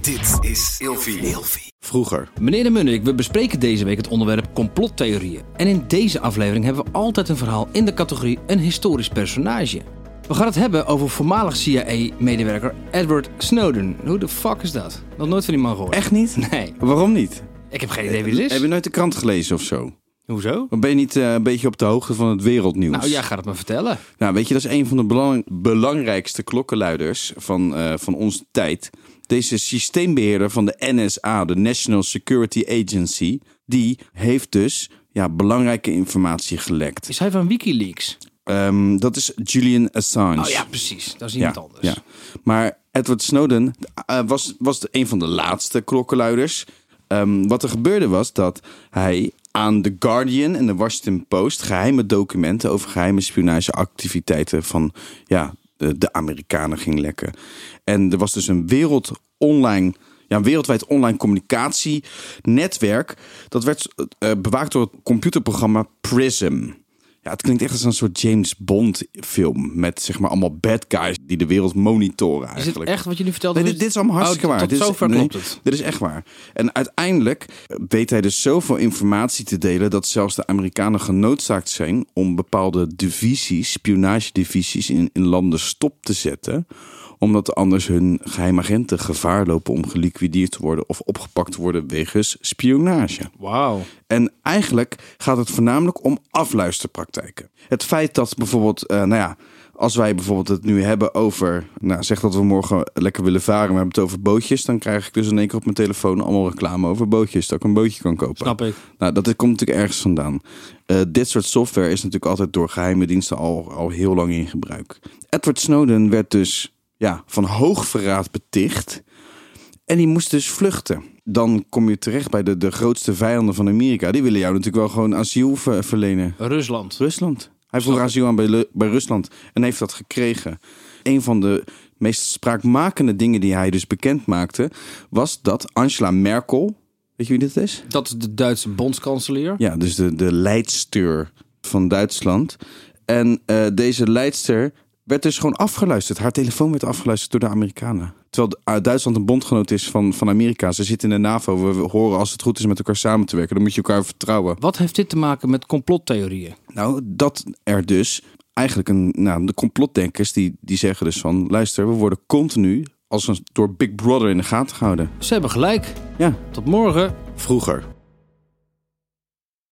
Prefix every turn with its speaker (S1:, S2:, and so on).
S1: Dit is Ilfi.
S2: Vroeger.
S3: Meneer de Munnik, we bespreken deze week het onderwerp complottheorieën. En in deze aflevering hebben we altijd een verhaal in de categorie een historisch personage. We gaan het hebben over voormalig CIA-medewerker Edward Snowden. Hoe de fuck is dat? Nog nooit van die man gehoord.
S2: Echt niet?
S3: Nee,
S2: Waarom niet?
S3: ik heb geen idee wie dit
S2: Heb
S3: is.
S2: je nooit de krant gelezen of zo?
S3: Hoezo?
S2: Dan ben je niet eh, een beetje op de hoogte van het wereldnieuws?
S3: Nou, jij gaat het me vertellen.
S2: Nou, weet je, dat is een van de belang- belangrijkste klokkenluiders van, eh, van onze tijd. Deze systeembeheerder van de NSA, de National Security Agency, die heeft dus ja, belangrijke informatie gelekt.
S3: Is hij van Wikileaks?
S2: Ehm, dat is Julian Assange.
S3: Oh ja, precies. Dat is iemand anders.
S2: Ja. Maar Edward Snowden eh, was, was de- een van de laatste klokkenluiders. Ehm, wat er gebeurde was dat hij aan The Guardian en de Washington Post geheime documenten over geheime spionageactiviteiten van ja, de, de Amerikanen ging lekken. En er was dus een wereld online. Ja, een wereldwijd online communicatienetwerk. Dat werd eh, bewaakt door het computerprogramma PRISM. Ja, het klinkt echt als een soort James Bond film. Met zeg maar allemaal bad guys die de wereld monitoren
S3: Is het
S2: eigenlijk.
S3: echt wat je nu vertelt?
S2: Nee, dit, dit is allemaal hartstikke
S3: Oh,
S2: waar.
S3: Tot
S2: dit is,
S3: zover
S2: nee,
S3: klopt het.
S2: Dit is echt waar. En uiteindelijk weet hij dus zoveel informatie te delen... dat zelfs de Amerikanen genoodzaakt zijn om bepaalde divisies... spionagedivisies in, in landen stop te zetten... omdat anders hun geheimagenten gevaar lopen om geliquideerd te worden... of opgepakt te worden wegens spionage.
S3: Wauw.
S2: En eigenlijk gaat het voornamelijk om afluisterpraktijken. Het feit dat bijvoorbeeld, eh, nou ja, als wij bijvoorbeeld het nu hebben over, nou zeg dat we morgen lekker willen varen, maar we hebben het over bootjes, dan krijg ik dus in één keer op mijn telefoon allemaal reclame over bootjes, dat ik een bootje kan kopen.
S3: Snap ik.
S2: Nou, dat komt natuurlijk ergens vandaan. Eh, dit soort software is natuurlijk altijd door geheime diensten al, al heel lang in gebruik. Edward Snowden werd dus ja, van hoogverraad beticht. En die moest dus vluchten. Dan kom je terecht bij de, de grootste vijanden van Amerika. Die willen jou natuurlijk wel gewoon asiel ver- verlenen.
S3: Rusland.
S2: Rusland. Hij vroeg asiel aan bij, Lu- bij Rusland en heeft dat gekregen. Een van de meest spraakmakende dingen die hij dus bekend maakte... was dat Angela Merkel... Weet je wie dit is?
S3: Dat is de Duitse bondskanselier.
S2: Ja, dus de, de leidster van Duitsland. En eh, deze leidster werd dus gewoon afgeluisterd. Haar telefoon werd afgeluisterd door de Amerikanen. Terwijl de- eh, Duitsland een bondgenoot is van, van Amerika. Ze zitten in de NAVO. We horen als het goed is met elkaar samen te werken. Dan moet je elkaar vertrouwen.
S3: Wat heeft dit te maken met complottheorieën?
S2: Nou, dat er dus eigenlijk een. Nou, de complotdenkers die, die zeggen dus van: luister, we worden continu als een, door Big Brother in de gaten gehouden.
S3: Ze hebben gelijk.
S2: Ja,
S3: Tot morgen.
S2: vroeger.